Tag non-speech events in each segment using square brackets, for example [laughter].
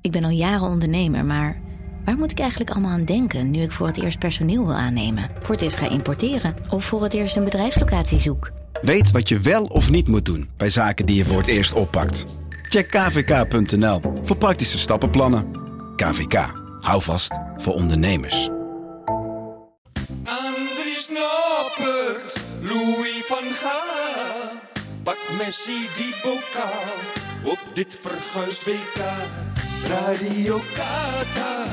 Ik ben al jaren ondernemer, maar waar moet ik eigenlijk allemaal aan denken nu ik voor het eerst personeel wil aannemen, voor het eerst ga importeren of voor het eerst een bedrijfslocatie zoek? Weet wat je wel of niet moet doen bij zaken die je voor het eerst oppakt. Check kvk.nl voor praktische stappenplannen. KVK, hou vast voor ondernemers. Andries Noppert, Louis van Gaal. Pak Messi die bokaal op dit verguisd WK. Radio Qatar,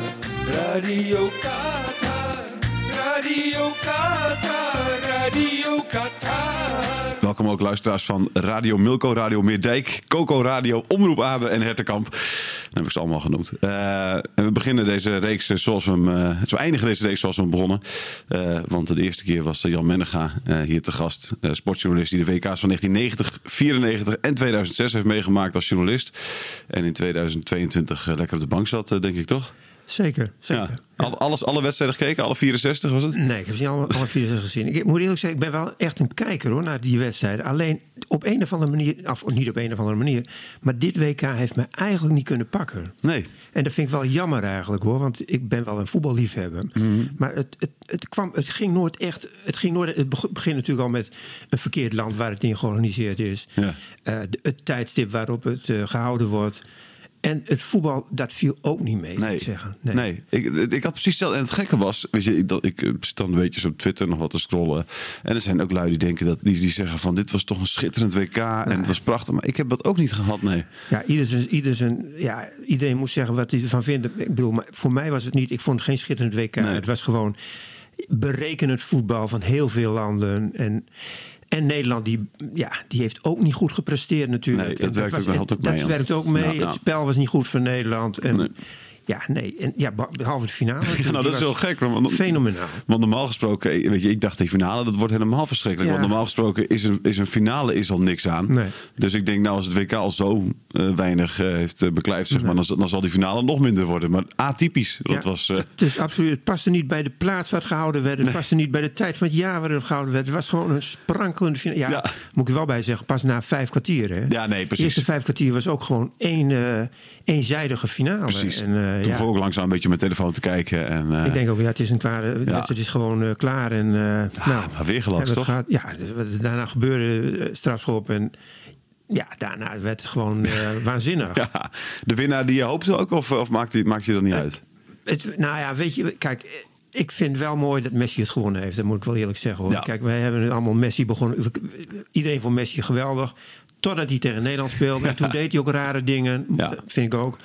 Radio Qatar, Radio Qatar, Radio Qatar. Welkom ook luisteraars van Radio Milko, Radio Meerdijk, Coco Radio, Omroep Abe en Hertenkamp. Dat heb ik ze allemaal genoemd. Eh, en we beginnen deze reeks eh, zoals we hem, eh, we eindigen deze reeks zoals we hem begonnen. Eh, want de eerste keer was eh, Jan Mennega eh, hier te gast. eh, sportjournalist die de WK's van 1990, 94 en 2006 heeft meegemaakt als journalist. En in 2022 eh, lekker op de bank zat, eh, denk ik toch? Zeker, zeker. Ja. Al- Alles, alle wedstrijden gekeken, alle 64 was het? Nee, ik heb ze niet alle, alle vier zes gezien. Ik moet eerlijk zeggen, ik ben wel echt een kijker hoor, naar die wedstrijden. Alleen op een of andere manier, of niet op een of andere manier, maar dit WK heeft me eigenlijk niet kunnen pakken. Nee. En dat vind ik wel jammer eigenlijk hoor, want ik ben wel een voetballiefhebber. Mhm. Maar het, het, het, kwam, het ging nooit echt. Het, ging nooit, het beg- begint natuurlijk al met een verkeerd land waar het in georganiseerd is. Ja. Eh, de- het tijdstip waarop het eh, gehouden wordt. En het voetbal, dat viel ook niet mee, moet ik zeggen. Nee, Ik, ik had precies hetzelfde. En het gekke was, weet je, ik, dat, ik eh, zit dan een beetje zo op Twitter nog wat te scrollen. En er zijn ook lui die denken dat die, die zeggen van dit was toch een schitterend WK en het was prachtig. Maar ik heb dat ook niet gehad, nee. Ja, ieder zijn, ieder zijn, ja, iedereen moet zeggen wat hij ervan vindt. Ik bedoel, maar voor mij was het niet. Ik vond het geen schitterend WK. Nee. Het was gewoon berekenend voetbal van heel veel landen. En, en Nederland, die, ja, die heeft ook niet goed gepresteerd natuurlijk. Nee, dat En werkt ook- was- had ook dat mee, ja. werkt ook mee. Ja, ja. Het spel was niet goed voor Nederland. En, Nee. Ja, nee. En, ja, beh- behalve de finale. [laughs] Ja, nou, Die dat is was heel gek. Want, Fenomenaal. Want normaal gesproken, eh, weet je, ik dacht die finale, dat wordt helemaal verschrikkelijk. Ja. Want normaal gesproken is een, is een finale is al niks aan. Nee. Dus ik denk, nou, als het WK al zo eh, weinig eh, heeft eh, beklijft, zeg maar, dan, zal- dan zal die finale nog minder worden. Maar atypisch, dat Ja, was... eh, Het, is absoluut, het paste niet bij de plaats waar het gehouden werd. Het paste niet bij de tijd van het jaar waar het gehouden werd. Het was gewoon een sprankelende finale. Ja, Ja. moet ik er wel bij zeggen, pas na vijf kwartier. Hè? Ja, nee, precies. De eerste vijf kwartier was ook gewoon één, eh, eenzijdige finale. Precies. En, eh, Toen ja, begon ik langzaam een beetje op mijn telefoon te kijken. En, eh, ik denk ook, ja, het is, een klare, de wedstrijd is gewoon eh, klaar. En, eh, nou, maar weer gelast, hebben we het toch? gehad. ja, dus wat er daarna gebeurde, eh, strafschop. En ja, daarna werd het [laughs] gewoon eh, waanzinnig. Ja, de winnaar die je hoopte ook, of, of maakt, die, maakt je dat niet uit? Het, nou ja, weet je, kijk, eh, ik vind wel mooi dat Messi het gewonnen heeft. Dat moet ik wel eerlijk zeggen hoor. Ja. Kijk, wij hebben allemaal Messi begonnen. we- Iedereen vond Messi geweldig. Totdat hij tegen Nederland speelde. [laughs] En toen deed hij ook rare dingen. Ja. Vind ik ook.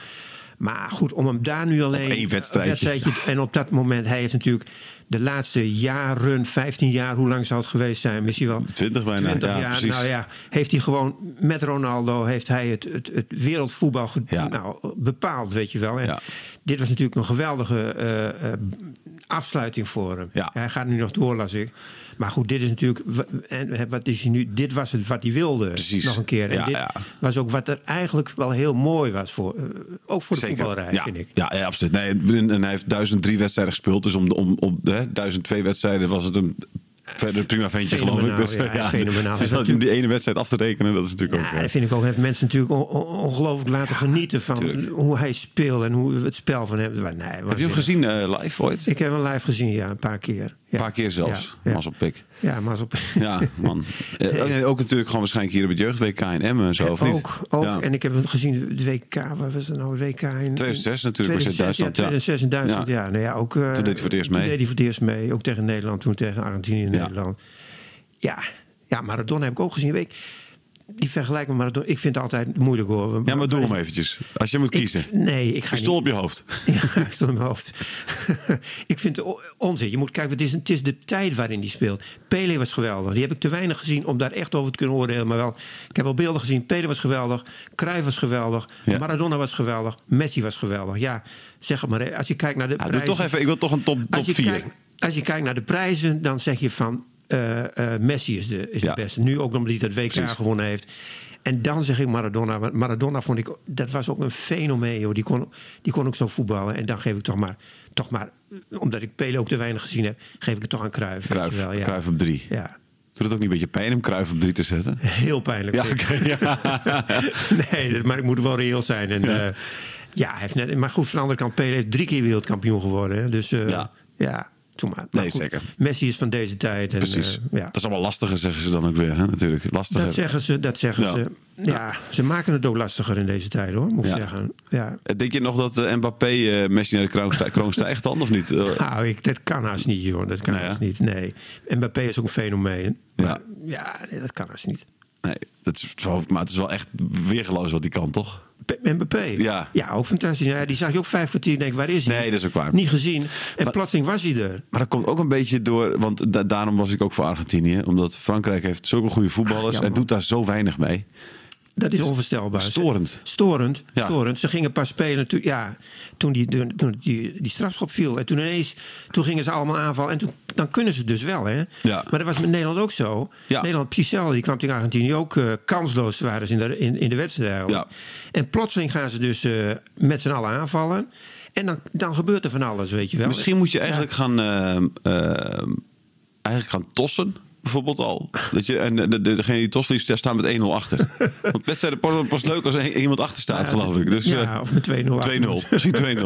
Maar goed, om hem daar nu alleen. één wedstrijdje. En op dat moment, hij heeft natuurlijk de laatste jaren, 15 jaar, hoe lang zou het geweest zijn? Misschien wel 20 bijna, 20 ja, jaar. precies. Nou ja, heeft hij gewoon met Ronaldo heeft hij het, het, het wereldvoetbal ge- Ja. nou, bepaald, weet je wel. En Ja. Dit was natuurlijk een geweldige eh, eh, afsluiting voor hem. Ja. Hij gaat nu nog door, las ik. Maar goed, dit is natuurlijk. wa- En wat is hij nu? Dit was het wat hij wilde. Precies. Nog een keer. En Ja, dit ja. was ook wat er eigenlijk wel heel mooi was voor. eh, ook voor de voetballerij, ja, vind ik. Ja, ja, absoluut. Nee, en- en hij heeft 1003 wedstrijden gespeeld. Dus om, de- om, om hè, 1002 wedstrijden was het een verder prima ventje, geloof ik. Fenomenaal, Dus, [laughs] ja, fenomenaal. Dus dat om die ene wedstrijd af te rekenen, dat is natuurlijk Ja, ook... eh, dat vind ik ook. Hij heeft mensen natuurlijk on- on- ongelooflijk laten genieten van tuurlijk. hoe hij speelt en hoe het spel van hem. Nee, heb je hem gezien eh, live ooit? Ik heb hem live gezien, ja, een paar keer. Ja. Een paar keer zelfs. Ja, ja. Was op [laughs] pik. Ja, maar als op. [laughs] Ja, man. Eh, oh, ja, ook natuurlijk gewoon waarschijnlijk hier op het jeugd-WK in Emmen en zo, of niet? Eh, ook, ook. Ja. En ik heb hem gezien, de WK, waar was het nou? WK in 2006 natuurlijk, was het 2006, Duitsland, ja. Ja, 2006 in Duitsland, Ja. ja. Nou ja ook, eh, deed hij voor het eerst toen mee. deed hij voor het eerst mee, ook tegen Nederland, toen tegen Argentinië en Ja. Nederland. Ja. ja, Maradona heb ik ook gezien. Ik, die vergelijking met Maradona, ik vind het altijd moeilijk hoor. ja, maar doe hem eventjes. Als je moet Ik- kiezen. nee, ik ga Pistool op je hoofd. [laughs] Ja, stond in mijn hoofd. [laughs] ik vind het o- onzin. Je moet kijken, het is, het is de tijd waarin die speelt. Pele was geweldig. Die heb ik te weinig gezien om daar echt over te kunnen oordelen. Maar wel, ik heb wel beelden gezien. Pele was geweldig. Cruijff was geweldig. Ja. Maradona was geweldig. Messi was geweldig. Ja, zeg het maar. hè. Als je kijkt naar de Ja, doe prijzen- toch even, ik wil toch een top, top als, je 4. kijkt, als je kijkt naar de prijzen, dan zeg je van... eh, eh, Messi is de, is Ja. de beste. Nu ook omdat hij dat WK Precies. gewonnen heeft. En dan zeg ik Maradona. Want Maradona vond ik... Dat was ook een fenomeen, joh. Die kon, die kon ook zo voetballen. En dan geef ik toch maar... Toch maar eh, omdat ik Pele ook te weinig gezien heb... geef ik het toch aan Cruijff. weet Kruif, je wel, ja. Kruif op 3. Ja. Doet het ook niet een beetje pijn om Kruif op 3 te zetten? Heel pijnlijk. Ja, vind ik. [laughs] oké, ja. nee, dat- maar ik moet wel reëel zijn. En, eh, Ja, hij heeft net, maar goed, van de andere kant, Pele is drie keer wereldkampioen geworden. hè. Dus eh, Ja. ja, toen maar. Maar Nee, goed, zeker. Messi is van deze tijd. En, Precies. eh, ja. Dat is allemaal lastiger, zeggen ze dan ook weer. Hè? Natuurlijk. Lastiger. Dat zeggen ze, dat zeggen Ja. ze. Ja, ze maken het ook lastiger in deze tijd hoor, moet ik Ja. zeggen. Ja. Eh, Denk je nog dat eh, Mbappé eh, Messi naar de kroon, stij- kroon stijgt dan, of [laughs] niet? Eh, Nou, ik, dat kan haast niet, joh. Dat kan Nou ja. haast niet. Nee. Mbappé is ook een fenomeen. Ja. Maar ja, nee, dat kan haast niet. nee, dat is wel, maar het is wel echt weergeloos wat die kan, toch? P- Mbappé? Ja. Ja, ook fantastisch. Nou ja, die zag je ook vijf kwartier. Ik Denk, waar is hij? Nee, dat is ook waar. Niet gezien. En Maar- plotseling was hij er. Maar dat komt ook een beetje door, want da- daarom was ik ook voor Argentinië. Omdat Frankrijk heeft zulke goede voetballers Ja, en man. doet daar zo weinig mee. Dat is onvoorstelbaar. Storend. Storend. Ja. storend. Ze gingen pas spelen toen, ja, toen, die, de- toen die, die strafschop viel. En toen ineens toen gingen ze allemaal aanvallen. En toen, dan kunnen ze het dus wel. Hè? Ja. Maar dat was met Nederland ook zo. Ja. Nederland precies hetzelfde. Die kwam tegen Argentinië ook eh, kansloos waren ze in de, in, in de wedstrijd. eigenlijk. Ja. En plotseling gaan ze dus eh, met z'n allen aanvallen. En dan, dan gebeurt er van alles, weet je wel. Misschien moet je eigenlijk gaan, ehm, ehm, eigenlijk gaan tossen. Bijvoorbeeld al. Dat je, en de, de- degene die tos liefst, daar staan met 1-0 [laughs] achter. Want wedstrijden pas, pas leuk als er iemand achter staat, geloof ik. Dus, Ja, eh, of met 2-0 achter [laughs] 2-0. Misschien 2-0, ja.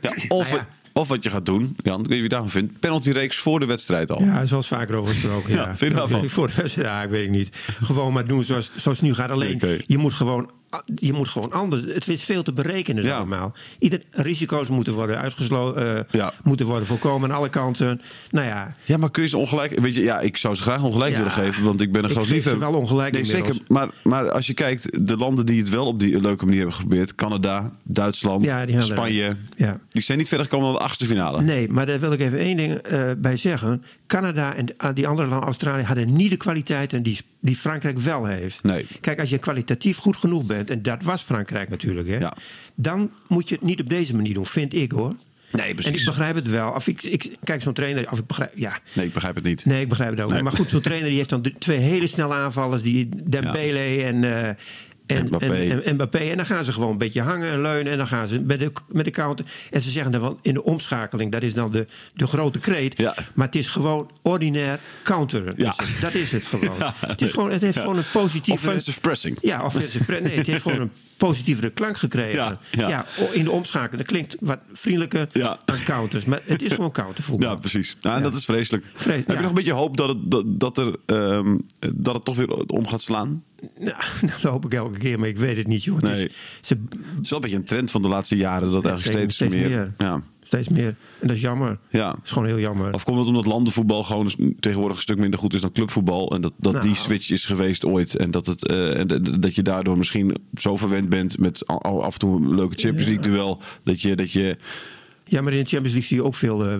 ja, of, Nou ja. of wat je gaat doen, Jan, ik weet niet wie je daarvan vindt. Penalty-reeks voor de wedstrijd al. Ja, er is wel eens vaker over gesproken. Ja, ja, vind je daarvan? [laughs] Voor de wedstrijd, ja, ik weet het niet. Gewoon maar doen zoals, zoals het nu gaat. Alleen, Oké. je, moet gewoon, je moet gewoon anders. Het is veel te berekenen Ja. allemaal. Ieder, risico's moeten worden uitgesloten, Ja. moeten worden voorkomen aan alle kanten. Nou ja, Ja, maar kun je ze ongelijk... Weet je, ja, ik zou ze graag ongelijk Ja. willen geven, want ik ben een Ik groot geef ze liefhebber. wel ongelijk nee, inmiddels. zeker. Maar, maar als je kijkt, de landen die het wel op die leuke manier hebben geprobeerd... Canada, Duitsland, Ja, die gaan Spanje... eruit. Ja. Die zijn niet verder gekomen dan de achtste finale. nee, maar daar wil ik even één ding eh, bij zeggen. Canada en eh, die andere landen, Australië, hadden niet de kwaliteiten die, die Frankrijk wel heeft. Nee. Kijk, als je kwalitatief goed genoeg bent, en dat was Frankrijk natuurlijk, hè, Ja. dan moet je het niet op deze manier doen, vind ik hoor. Nee, precies. En ik begrijp het wel. Of ik, ik kijk zo'n trainer. Of ik begrijp, ja. Nee, ik begrijp het niet. Nee, ik begrijp het ook. Nee. Maar goed, zo'n trainer die heeft dan drie- twee hele snelle aanvallers. Die Dembele en, eh, en, Mbappé. en, en Mbappé. En dan gaan ze gewoon een beetje hangen en leunen. En dan gaan ze met de, met de counter. En ze zeggen dan wel in de omschakeling. Dat is dan de, de grote kreet. Ja. Maar het is gewoon ordinair counteren. Ja. Dat is het gewoon. [laughs] Ja. Het, is gewoon het heeft Ja. gewoon een positieve... Offensive pressing. Ja, offensive pressing. Nee, het heeft gewoon een positievere klank gekregen. Ja, ja. o- in de omschakeling. Dat klinkt wat vriendelijker Ja. dan counters. Maar het is gewoon countervoetbal. Ja, precies. Nou, en Ja. dat is vreselijk. Vres- Heb ja. je nog een beetje hoop dat het, dat, dat er, ehm, dat het toch weer om gaat slaan? Nou, [laughs] dat hoop ik elke keer, maar ik weet het niet, joh. Het Nee. is- ze, Het is wel een beetje een trend van de laatste jaren. Dat eigenlijk steeds- steeds, steeds meer... meer. Ja. steeds meer. En dat is jammer. Ja. Dat is gewoon heel jammer. Of komt het omdat landenvoetbal gewoon tegenwoordig een stuk minder goed is dan clubvoetbal? En dat, dat Nou. die switch is geweest ooit. En dat, het, eh, en d- d- dat je daardoor misschien zo verwend bent met a- a- af en toe een leuke Champions League duel. Dat je, dat je ja, maar in de Champions League zie je ook veel eh, eh,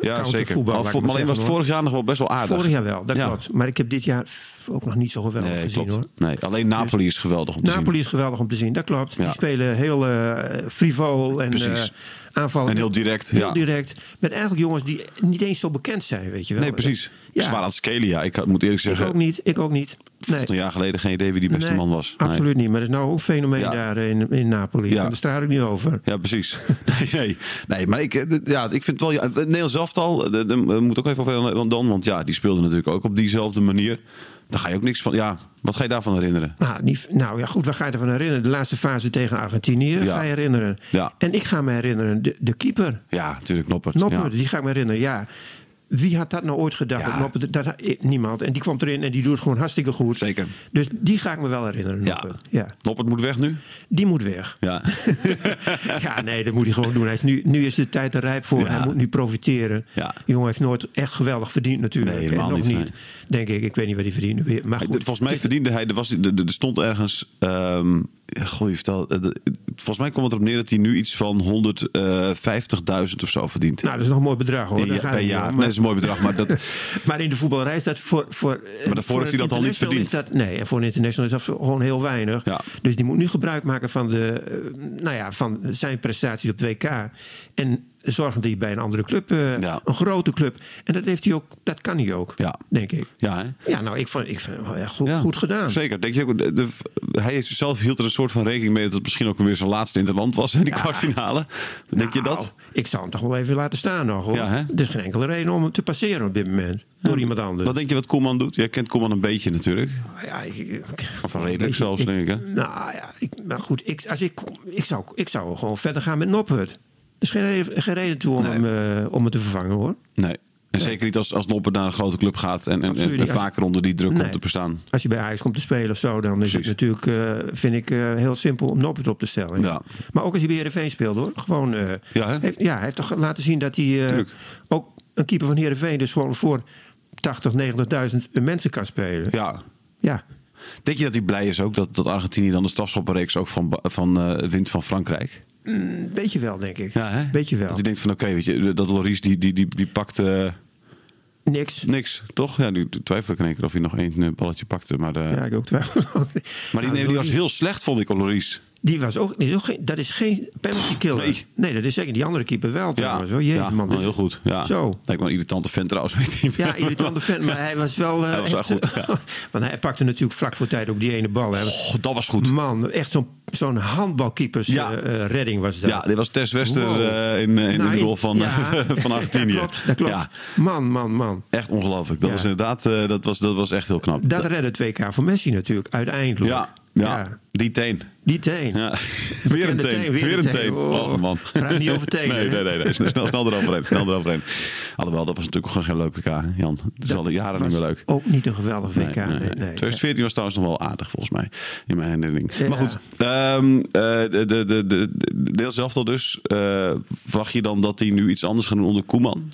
ja, zeker. countervoetbal. Maar, laat ik voor- maar alleen zeggen, was het hoor. vorig jaar nog wel best wel aardig. Vorig jaar wel, dat Ja. klopt. Maar ik heb dit jaar f- ook nog niet zo geweldig Nee, gezien, hoor. Dus klopt. Nee, alleen Napoli is geweldig om te zien. Napoli is geweldig om te zien, dat klopt. Ja. Die spelen heel eh frivol en eh Precies. aanvallen. En heel direct, Heel ja. direct. Met eigenlijk jongens die niet eens zo bekend zijn, weet je wel. Nee, precies. Ja, Zwaar aan Scalia. Ik had- moet eerlijk ik zeggen, ook niet, ik ook niet. Nee. tot een jaar geleden geen idee wie die beste Nee, man was. Nee. Absoluut niet. Maar er is nou ook een fenomeen Ja. daar in, in Napoli. Ja. En daar straal ik niet over. Ja, [laughs] precies. Nee, nee. nee maar ik, eh, d- ja, ik vind het wel... Ja, het Nederlands elftal, eh, d- daar moet ook even over want dan. Want ja, die speelde natuurlijk ook op diezelfde manier. Daar ga je ook niks van... Ja, wat ga je daarvan herinneren? Nou, niet, nou ja, goed, waar ga je ervan herinneren? De laatste fase tegen Argentinië Ja. ga je herinneren. Ja. En ik ga me herinneren, de, de keeper. Ja, natuurlijk Noppert. Noppert, ja. die ga ik me herinneren, ja. Wie had dat nou ooit gedacht? Ja. dat Noppert, dat, eh, niemand. En die kwam erin en die doet het gewoon hartstikke goed. Zeker. Dus die ga ik me wel herinneren, Ja. Noppert. Ja. Noppert moet weg nu? Die moet weg. Ja. [laughs] ja, nee, dat moet hij gewoon doen. Hij is nu, nu is de tijd er rijp voor. Ja. Hij moet nu profiteren. Ja. Die jongen heeft nooit echt geweldig verdiend natuurlijk. Nee, En helemaal nog niet, niet, nee. denk ik. Ik weet niet wat hij verdiende. weer. Maar goed, Volgens mij het- verdiende hij... Er, was, er, er- er stond ergens... ehm goh, je vertelt... eh, de- Volgens mij komt het erop neer dat hij nu iets van 150.000 of zo verdient. Nou, dat is nog een mooi bedrag hoor. In- Daar gaat per het jaar. niet Nee, om. Maar, dat is een mooi bedrag, maar dat... [laughs] maar in de voetbalrij is dat voor... voor eh, heeft voor hij een dat al niet international is verdiend. dat- nee, en voor een international is dat gewoon heel weinig. Ja. Dus die moet nu gebruik maken van, de, eh, nou ja, van zijn prestaties op 2K. En zorgen dat hij bij een andere club, eh, Ja. een grote club. En dat, heeft hij ook, dat kan hij ook, Ja. denk ik. Ja, hè? Ja, nou, ik vond, ik vond het wel echt goed, Ja, goed gedaan. Zeker. Denk je ook, de, de- hij is- zelf hield er een soort van rekening mee dat het misschien ook weer zijn laatste interland was in die Ja. kwartfinale. Denk je Nou, dat? Ik zou hem toch wel even laten staan nog, hoor. Ja, hè? Er is geen enkele reden om hem te passeren op dit moment. Door iemand anders. Wat denk je wat Koeman doet? Jij kent Koeman een beetje natuurlijk. Nou Ja, ik- ik- Of redelijk zelfs, ik- denk ik, hè? Nou ja, ik, maar goed, ik, als ik, ik, zou, ik zou gewoon verder gaan met Noppert. Er is geen reden, geen reden toe om, Nee. hem, eh, om hem te vervangen, hoor. Nee. En zeker niet als, als Noppen naar een grote club gaat en, en, Absoluut en niet. Als- vaker onder die druk Nee. komt te bestaan. Als je bij Ajax komt te spelen of zo, dan is het Precies. natuurlijk, eh, vind ik, eh, heel simpel om Noppert op te stellen. Ja. Maar ook als hij bij Heerenveen speelt, hoor. Gewoon, eh, Ja, hè? heeft, ja, hij heeft toch laten zien dat hij eh, Tuurlijk. ook een keeper van Heerenveen dus gewoon voor 80, 90.000 mensen kan spelen. Ja. ja. Denk je dat hij blij is ook dat, dat Argentinië dan de strafschoppenreeks ook van, ba- van eh, wint van Frankrijk? Een Mm, beetje wel, denk ik. Ja, hè? Beetje wel. Dat hij denkt van oké, weet je, dat Loris die, die, die, die pakt... eh, Niks. Niks, toch? Ja, nu twijfel ik in één keer of hij nog één eh, balletje pakte. Maar, eh, Ja, ik ook twijfel. [laughs] maar Nou, die, nee, die was heel slecht, vond ik, Loris. Die was ook, die is ook geen, dat is geen penalty killer. Nee. Nee. dat is zeker. Die andere keeper wel trouwens. hoor. Jezus, ja, man. wel Dus- heel goed. Ja. Zo. Lijkt me een irritante vent trouwens. Weet niet. Ja, irritante fan, maar [laughs] hij was wel... eh, Hij was wel echt- goed, ja. [laughs] Want hij pakte natuurlijk vlak voor tijd ook die ene bal. Hè. Oh, dat was goed. Man, echt zo'n zo'n handbalkeepers Ja. eh, eh, redding was dat. Ja, dit was Tess Wester Wow. eh, in, eh, in Nou, de rol van, eh, ja. [laughs] van Argentinië. dat klopt, dat klopt. Ja, Man, man, man. echt ongelooflijk. Dat Ja. was inderdaad eh, dat was, dat was echt heel knap. Dat redde het WK voor Messi natuurlijk, uiteindelijk. ja, ja, die teen. Die teen. [laughs] Ja. Weer een Bekende teen, teen, weer een teen. Oh, Oh man. praat niet [laughs] over tenen, Nee, hè? nee, nee. nee. Snel, snel eroverheen. Snel eroverheen. Alhoewel, dat was natuurlijk ook gewoon geen leuk WK, hè, Jan. Het is al jaren niet was meer leuk. Ook niet een geweldig WK. Nee, nee, 2014 was trouwens nog wel aardig volgens mij. In mijn herinnering. Ja. Maar goed. ehm, eh, de, de, de, de, de deel zelf al dus. eh, wacht je dan dat hij nu iets anders gaat doen onder Koeman?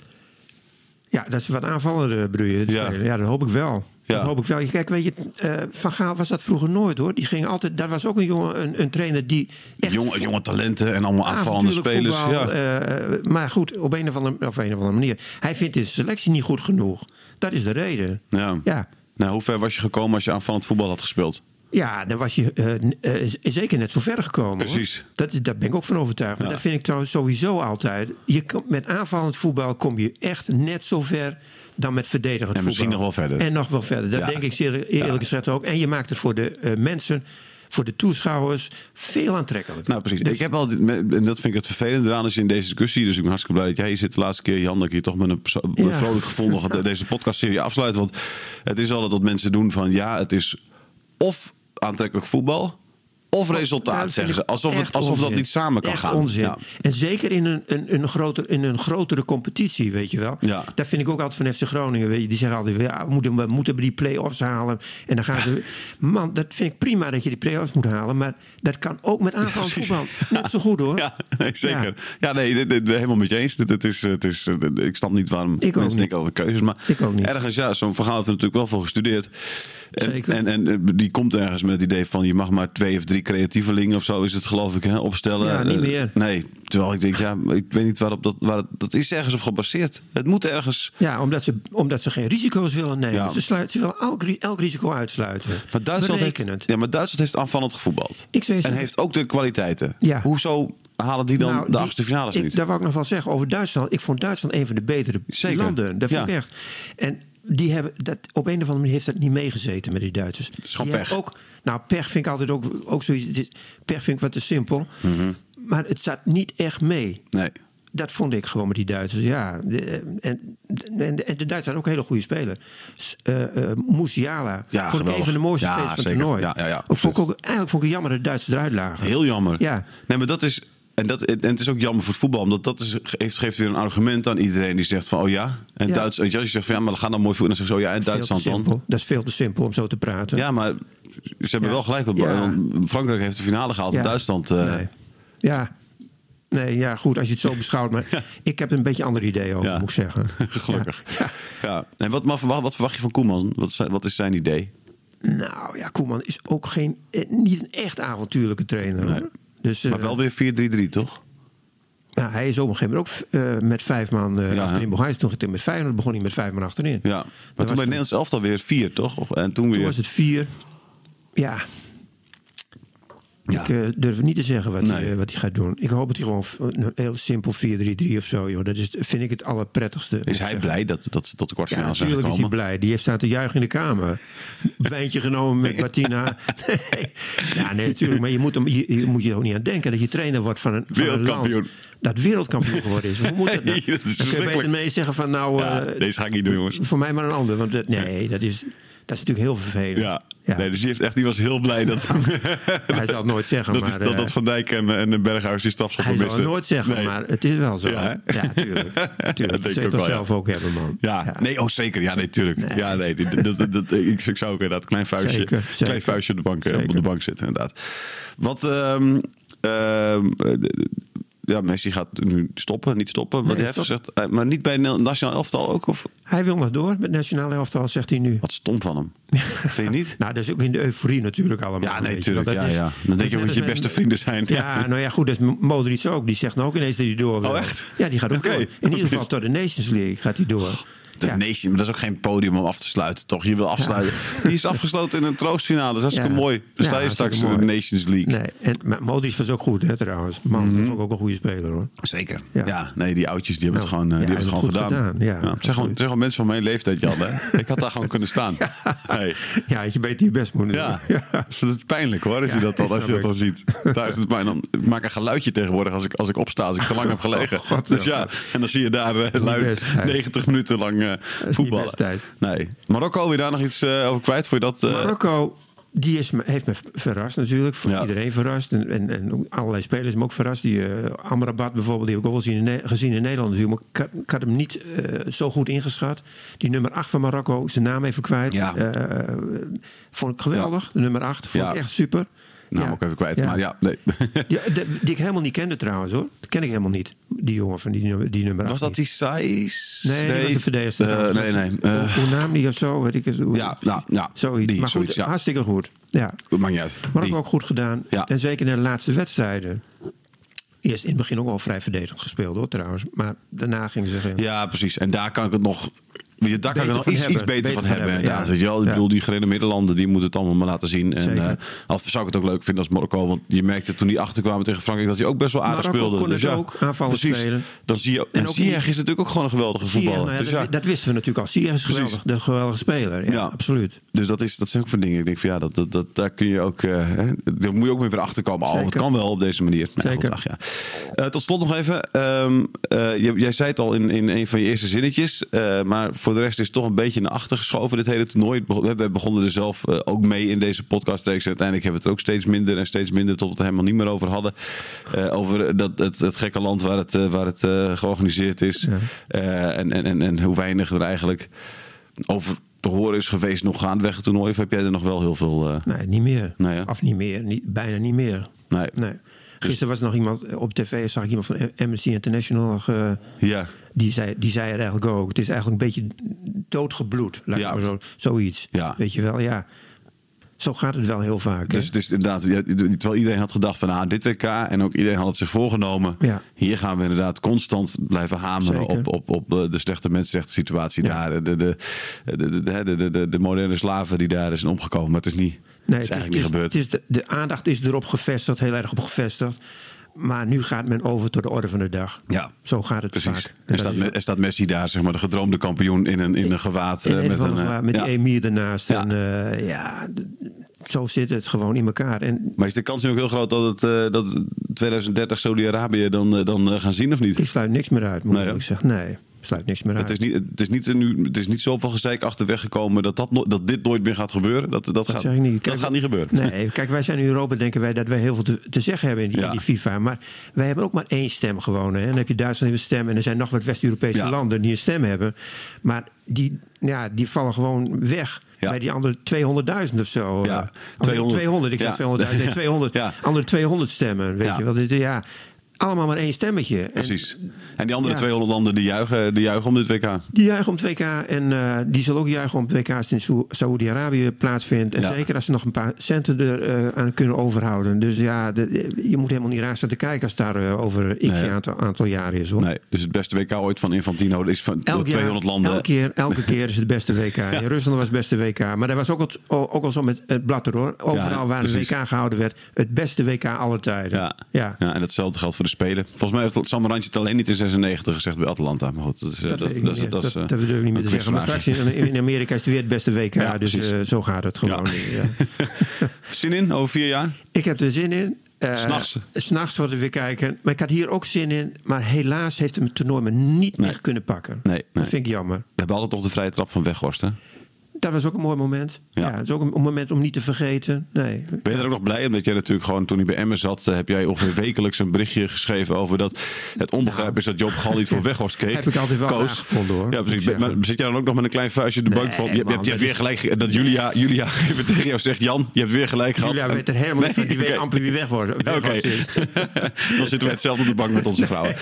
Ja, dat ze wat aanvallen bedoel je. te Ja. spelen. Ja, dat hoop ik wel. Ja. Dat hoop ik wel. Kijk, weet je, eh, Van Gaal was dat vroeger nooit hoor. Die ging altijd, daar was ook een jongen, een, een trainer die echt Jonge, jonge talenten en allemaal aanvallende avontuurlijk spelers. voetbal, ja. eh, maar goed, op een, of andere, op een of andere manier. Hij vindt de selectie niet goed genoeg. Dat is de reden. ja. Ja, Nou, hoe ver was je gekomen als je aanvallend voetbal had gespeeld? Ja, dan was je eh, n- eh, z- zeker net zo ver gekomen. hoor. Precies. Dat, is- daar ben ik ook van overtuigd. Maar Ja. dat vind ik trouwens sowieso altijd. Je komt met aanvallend voetbal kom je echt net zo ver dan met verdedigend En voetbal. misschien nog wel verder. En nog wel verder. Dat Ja. denk ik zeer, eerlijk Ja. gezegd ook. En je maakt het voor de eh, mensen, voor de toeschouwers, veel aantrekkelijker. Nou, precies. Dus- Ik heb al, en dat vind ik het vervelende eraan als je in deze discussie. Dus ik ben hartstikke blij dat jij hier zit de laatste keer, Jan. Dat ik hier toch met een perso- Ja. vrolijk gevoel nog [laughs] de- deze podcastserie afsluit. Want het is altijd dat mensen doen van ja, het is of aantrekkelijk voetbal. Of Daar resultaat, Nou, vind zeggen ik ze. Alsof, het, echt alsof dat onzin. niet samen kan Echt gaan. onzin. Ja. En zeker in een, een, een, groter, in een grotere competitie, weet je wel. Ja. Dat vind ik ook altijd van FC Groningen. Weet je, die zeggen altijd, ja, we, moeten, we moeten die play-offs halen. En dan gaan ze... Man, dat vind ik prima dat je die play-offs moet halen. Maar dat kan ook met aanval Precies. voetbal. Net zo goed, hoor. [laughs] Ja, [laughs] nee, zeker. Ja, Ja. nee, dit, dit- helemaal met je eens. Dit, dit is, het is, eh, ik snap niet waarom ook mensen niet. denken altijd keuzes. Maar Ik ook niet. ergens, ja, zo'n verhaal heeft er natuurlijk wel voor gestudeerd. En, Zeker. En, en eh, die komt ergens met het idee van je mag maar twee of drie creatievelingen of zo is het geloof ik hè, opstellen. Ja, niet Eh, meer. nee, terwijl ik denk, ja, maar ik weet niet waarop dat, waar, dat is ergens op gebaseerd. Het moet ergens. Ja, omdat ze, omdat ze geen risico's willen nemen. Ja. Ze, sluiten, ze willen elk, ri- elk risico uitsluiten. Maar Duitsland, heeft, Berekenend. ja, maar Duitsland heeft aanvallend gevoetbald. Ik zou je en zeggen- heeft ook de kwaliteiten. Ja. Hoezo halen die dan Nou, de die- achtste finales ik, niet? Daar wou ik nog wel zeggen over Duitsland. Ik vond Duitsland een van de betere Zeker, landen. Dat vind ja. ik echt. En die hebben dat, op een of andere manier heeft dat niet meegezeten met die Duitsers. is gewoon Die hebben pech. Ook, nou, pech vind ik altijd ook, ook zoiets. het is- Pech vind ik wat te simpel. Mhm. Maar het zat niet echt mee. Nee. Dat vond ik gewoon met die Duitsers, ja. De- en, en, en de Duitsers zijn ook hele goede spelers. S- eh, eh, Musiala. Ja, vond ik geweldig. een van de mooiste Ja, spelers van het zeker. toernooi. Ja, ja, ja, Ook vond ik ook, eigenlijk vond ik het jammer dat de Duitsers eruit lagen. Heel jammer. Ja. Nee, maar dat is. En, dat, en het is ook jammer voor het voetbal, omdat dat is, geeft, geeft weer een argument aan iedereen die zegt van, oh ja, en Ja. Duits, weet je, als je zegt van, ja, maar we gaan dan mooi voetballen, dan zeggen ze, oh ja, en Veel te Duitsland dan. simpel. Dat is veel te simpel om zo te praten. Ja, maar ze hebben Ja. wel gelijk, want Ja. want Frankrijk heeft de finale gehaald, en Ja. Duitsland. eh, Nee. Ja. Nee, ja, goed, als je het zo beschouwt. [laughs] Maar ik heb een beetje een ander idee over, Ja. moet ik zeggen. [laughs] [laughs] Gelukkig. Ja. Ja. En wat, maar wat, wat verwacht je van Koeman? Wat is, zijn- wat is zijn idee? Ja. Nou ja, Koeman is ook geen, eh, niet een echt avontuurlijke trainer. Nee. hoor. Dus, eh, maar wel weer 4-3-3, toch? nou, hij is op een gegeven moment ook eh, met vijf man eh, Ja, hè? achterin begonnen. Hij is toen getraind met vijf, dan begon hij met vijf man achterin. Ja. Maar Dat toen bij was het Nederlands elftal weer 4, toch? En toen weer... Toen was het vier. Ja. Ja. Ik eh, durf niet te zeggen wat, hij, Nee. eh, wat hij gaat doen. Ik hoop dat hij gewoon v- een heel simpel 4-3-3 of zo. Joh. Dat is, vind ik het allerprettigste. moet ik Is hij zeggen. blij dat, dat ze tot de Ja, kwartfinale zijn natuurlijk is hij gekomen? blij. Die heeft staan te juichen in de kamer. [laughs] Wijntje genomen met Martina. Nee. Ja, nee, natuurlijk. Maar je moet, hem, je, je moet je er ook niet aan denken dat je trainer wordt van een, van een land Wereldkampioen. dat wereldkampioen geworden is. Hoe moet dat nou? [laughs] Nee, dat is Dan kun je verschrikkelijk. beter mee zeggen van nou, Ja, eh, deze ga ik niet doen, jongens. voor mij maar een ander. Want dat- nee, dat is, dat is natuurlijk heel vervelend. Ja. Nee, dus die, heeft echt, die was heel blij dat. [laughs] Hij zal het nooit [laughs] zeggen, dat, maar... is, dat, eh, dat Van Dijk en, en de Berghuis die hij stafschoppen zal het misten. nooit zeggen, Nee. maar het is wel zo. Ja, Ja, hè? [laughs] tuurlijk. Dat tuurlijk. Dat denk zul ik je ook toch wel, ja. zelf ook hebben, man. Ja, nee, oh zeker. Ja, nee, tuurlijk. Ja, nee, dit- dit- dit- dit- ik, ik zou ook inderdaad een klein vuistje, Zeker, Klein zeker. vuistje op, de bank, eh, op de Zeker. bank zitten, inderdaad. Wat, ehm, ehm, eh, d- ja, Messi gaat nu stoppen, niet stoppen. Wat hij heeft stop. gezegd, eh, maar niet bij het nationaal elftal ook? Of? Hij wil nog door met nationale elftal, zegt hij nu. Wat stom van hem. [laughs] Vind je niet? Nou, dat is ook in de euforie natuurlijk allemaal. Ja, nee, weet je, tuurlijk. want Ja, dat is- ja. Dan dat denk is je ook dat net je als beste met- vrienden zijn. Ja, nou ja, goed, dat is Modric ook. Die zegt nou ook ineens dat hij door wil. Oh, echt? Ja, die gaat ook Oké. door. In ieder geval tot de Nations League gaat hij door. De ja. Nation, maar dat is ook geen podium om af te sluiten, toch? Je wil afsluiten. Die [laughs] is afgesloten in een troostfinale. Dat is hartstikke Ja. mooi. Dus Ja, daar is straks hartstikke de mooi. Nations League. Mhm. Nee, en, maar Modric was ook goed, hè, trouwens. Man, dat vond ik ook een goede speler, hoor. Zeker. Ja. Ja. nee, die oudjes die hebben Nou, het gewoon, eh, ja, die hebben het hij gewoon heeft het gedaan. goed gedaan, ja. het zijn gewoon, het zijn gewoon mensen van mijn leeftijd, Jan. Hè? Ik had daar gewoon kunnen [laughs] staan. Hey. Ja, had je beter je best moeten doen. [laughs] Ja. [laughs] Dus dat is pijnlijk hoor, als je Ja, dat dan, als je dat snap dan ziet. Daar is het pijn. Dan, ik maak een geluidje tegenwoordig als ik, als ik opsta, als ik te lang heb gelegen. [laughs] Oh, God, dus ja. ja, en dan zie je daar eh, niet lui- best, hè. 90 minuten lang eh, niet voetballen. best, tijd. Nee. Marokko, wil je daar nog iets eh, over kwijt? Voor je dat, eh, Marokko, die is, me- heeft me verrast natuurlijk. Voor Ja. Iedereen verrast. En, en, en ook allerlei spelers me ook verrast. Die eh, Amrabat bijvoorbeeld, die heb ik ook wel zien in Ne- gezien in Nederland natuurlijk. Maar ik had, ik had hem niet eh, zo goed ingeschat. Die nummer 8 van Marokko, zijn naam even kwijt. Ja. Eh, vond ik geweldig. De nummer 8 vond Ja. ik echt super. naam Ja. Nou, ook even kwijt, maar ja, nee. Ja, de- die ik helemaal niet kende trouwens hoor. Dat ken ik helemaal niet. Die jongen van die nummer, die [laughs] nummer Was 8 dat die niet. size? Nee, die was de verdedigster. Eh, trouwens. nee, nee. Hoe- eh, hoe naam die of zo, weet ik het. hoe- Ja, nou, ja, zoiets. die, maar goed, zoiets, ja. hartstikke goed. Ja. maakt niet uit. Maar Die. ook goed gedaan. Ja. En zeker in de laatste wedstrijden. Eerst in het begin ook al vrij verdedigend gespeeld hoor trouwens. Maar daarna gingen ze geen... Ja, precies. En daar kan ik het nog. je Daar kan ik Beter er nog van iets, hebben. iets beter, Beter van van hebben. hebben, inderdaad. ja. Weet je wel? Ik Ja. bedoel, die gerenommeerde landen die moeten het allemaal maar laten zien. En, Zeker. eh, al zou ik het ook leuk vinden als Marokko. Want je merkte toen die achterkwamen tegen Frankrijk dat hij ook best wel aardig Marokko speelde. kon dus het ja, ook, aanvallen precies. spelen. Dan zie je, En en ook Ziyech die- is natuurlijk ook gewoon een geweldige Ziyech, voetballer. nou ja, dus, ja. dat, dat wisten we natuurlijk al. Ziyech is geweldig. Precies. De geweldige speler. Ja, Ja. absoluut. Dus dat, is, dat zijn ook van dingen. Ik denk van ja, dat, dat, dat, daar kun je ook. eh, hè, daar moet je ook weer weer achter komen. Oh, het Zeker. kan wel op deze manier. Nou, Zeker. goed, ach ja. Eh, tot slot nog even. ehm, eh, jij, jij zei het al in, in een van je eerste zinnetjes. eh, maar voor de rest is het toch een beetje naar achter geschoven. Dit hele toernooi. Het begon- We we begonnen er zelf eh, ook mee in deze podcast. En uiteindelijk hebben we het er ook steeds minder en steeds minder. Tot we het er helemaal niet meer over hadden. Eh, over dat, het, het gekke land waar het, eh, waar het eh, georganiseerd is. Eh, en, en, en, en hoe weinig er eigenlijk over te horen is geweest nog gaandeweg het toernooi? Of heb jij er nog wel heel veel... eh, Nee, niet meer. Nee, hè? Of niet meer. Niet, bijna niet meer. Nee. Dus- Gisteren was er nog iemand op tv. Zag ik iemand van Amnesty International. nog, eh, Ja. die, zei, die zei het eigenlijk ook. Het is eigenlijk een beetje doodgebloed. Laat ik Ja. maar zo, zoiets. Ja. Weet je wel, ja. Zo gaat het wel heel vaak. hè? Dus het is inderdaad, ja, terwijl iedereen had gedacht van ah, dit WK en ook iedereen had het zich voorgenomen. Ja. Hier gaan we inderdaad constant blijven hameren Zeker. op, op, op eh, de slechte mensenrechten situatie Ja. daar. De, de, de, de, de, de, de- de, de moderne slaven die daar zijn omgekomen. Maar het is niet, Nee, het is eigenlijk het is, niet gebeurd. het is de, de aandacht is erop gevestigd, heel erg op gevestigd. Maar nu gaat men over tot de orde van de dag. Ja. Zo gaat het Precies. vaak. En En dat staat, is- Me- en staat Messi daar, zeg maar, de gedroomde kampioen in een, in een gewaad. in eh, een of andere eh, gewaad met ja. die emir ernaast. Ja. En eh, ja, d- zo zit het gewoon in elkaar. En Maar is de kans nu ook heel groot dat, het, eh, dat 2030 Saudi-Arabië dan, eh, dan eh, gaan zien of niet? ik sluit niks meer uit, moet Nee, ik eerlijk zeggen. Nee, ik sluit niks meer uit. Het is niet, het is niet, nu, het is niet zoveel gezeik achterweg gekomen dat, dat, no- dat dit nooit meer gaat gebeuren. Dat, dat, dat gaat, zeg ik niet. dat Kijk, gaat niet gebeuren. Nee, kijk, wij zijn in Europa, denken wij dat wij heel veel te, te zeggen hebben in die, Ja. in die FIFA. Maar wij hebben ook maar één stem gewoon. Hè. En dan heb je Duitsland een stem en er zijn nog wat West-Europese Ja. landen die een stem hebben. Maar die, ja, die vallen gewoon weg. Ja. Bij die andere 200.000 of zo. Ja, Eh, 200. 200, ik Ja. [laughs] zeg 200.000. Nee, 200, Ja. andere 200 stemmen, weet Ja. je wel. Dit, ja, allemaal maar één stemmetje. En [laughs] Precies. En die andere Ja. twee Hollanderen die juichen, die juichen om dit WK. die juichen om het WK en eh, die zal ook juichen om het WK als het in Saoe- Saoedi-Arabië plaatsvindt. En Ja. zeker als ze nog een paar centen er eh, aan kunnen overhouden. Dus ja, de- je moet helemaal niet raar staan te kijken als het daar eh, over x Nee. aantal, aantal jaren is hoor. Nee, dus het beste WK ooit van Infantino is van door Elk jaar, 200 landen. Elke keer, elke keer is het beste [laughs] WK. In Rusland was het beste WK. Maar dat was ook, het, ook al zo met het blatter hoor. Overal Ja, waar precies. een WK gehouden werd. Het beste WK aller tijden. Ja. Ja. en datzelfde geldt voor de Spelen. Volgens mij heeft Samaranch het alleen niet in 96 gezegd bij Atlanta. Maar goed, dat is... eh, Dat, weet ik dat niet is- meer. dat dat, is, eh, dat bedoel ik niet meer een te zeggen. Maar straks quizvraagje. in, in Amerika is het weer het beste WK. Ja, dus precies. eh, zo gaat het gewoon. Ja. Ja. Zin in over vier jaar? Ik heb er zin in. Eh, S'nachts. S'nachts worden we weer kijken. Maar ik had hier ook zin in. Maar helaas heeft hem het toernooi me niet Nee. meer kunnen pakken. Nee, nee. Dat vind ik jammer. We hebben altijd nog de vrije trap van Weghorst, hè? Dat was ook een mooi moment. Ja. Ja, het is ook een, een moment om niet te vergeten. Nee. Ben je er ook nog blij om? Dat jij natuurlijk gewoon toen hij bij Emmen zat... eh, heb jij ongeveer wekelijks een berichtje geschreven over dat... het onbegrijp is dat Job Gal niet [laughs] voor Weghorst keek. Heb ik altijd wel Koos. raar gevonden, hoor. Ja, Moet ik precies. zeggen. Maar zit jij dan ook nog met een klein vuistje op de bank van... Je, hebt- je man, hebt dat weer is- gelijk... ge- Dat Julia, Julia [laughs] even tegen jou zegt... Jan, je hebt weer gelijk gehad. Julia En- weet er helemaal niet van. Die weet [laughs] oké. amper wie weg was. Ja, weg Oké, was is. [laughs] dan zitten we hetzelfde op de bank met onze [laughs] vrouwen.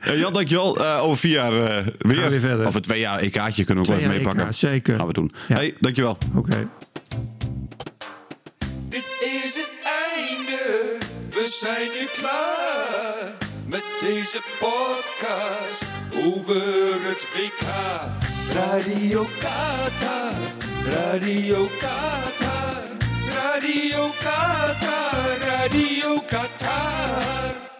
Eh, Jan, dankjewel. Eh, over vier jaar eh, weer. Gaan we verder. Over twee jaar EK'tje kunnen we ook Twee wel even jaar EK, meepakken. zeker. Gaan we doen. Ja. Hey, dankjewel. Oké. Dit is het einde, we zijn nu klaar met deze podcast over het WK. Radio Qatar, Radio Qatar, Radio Qatar, Radio Qatar.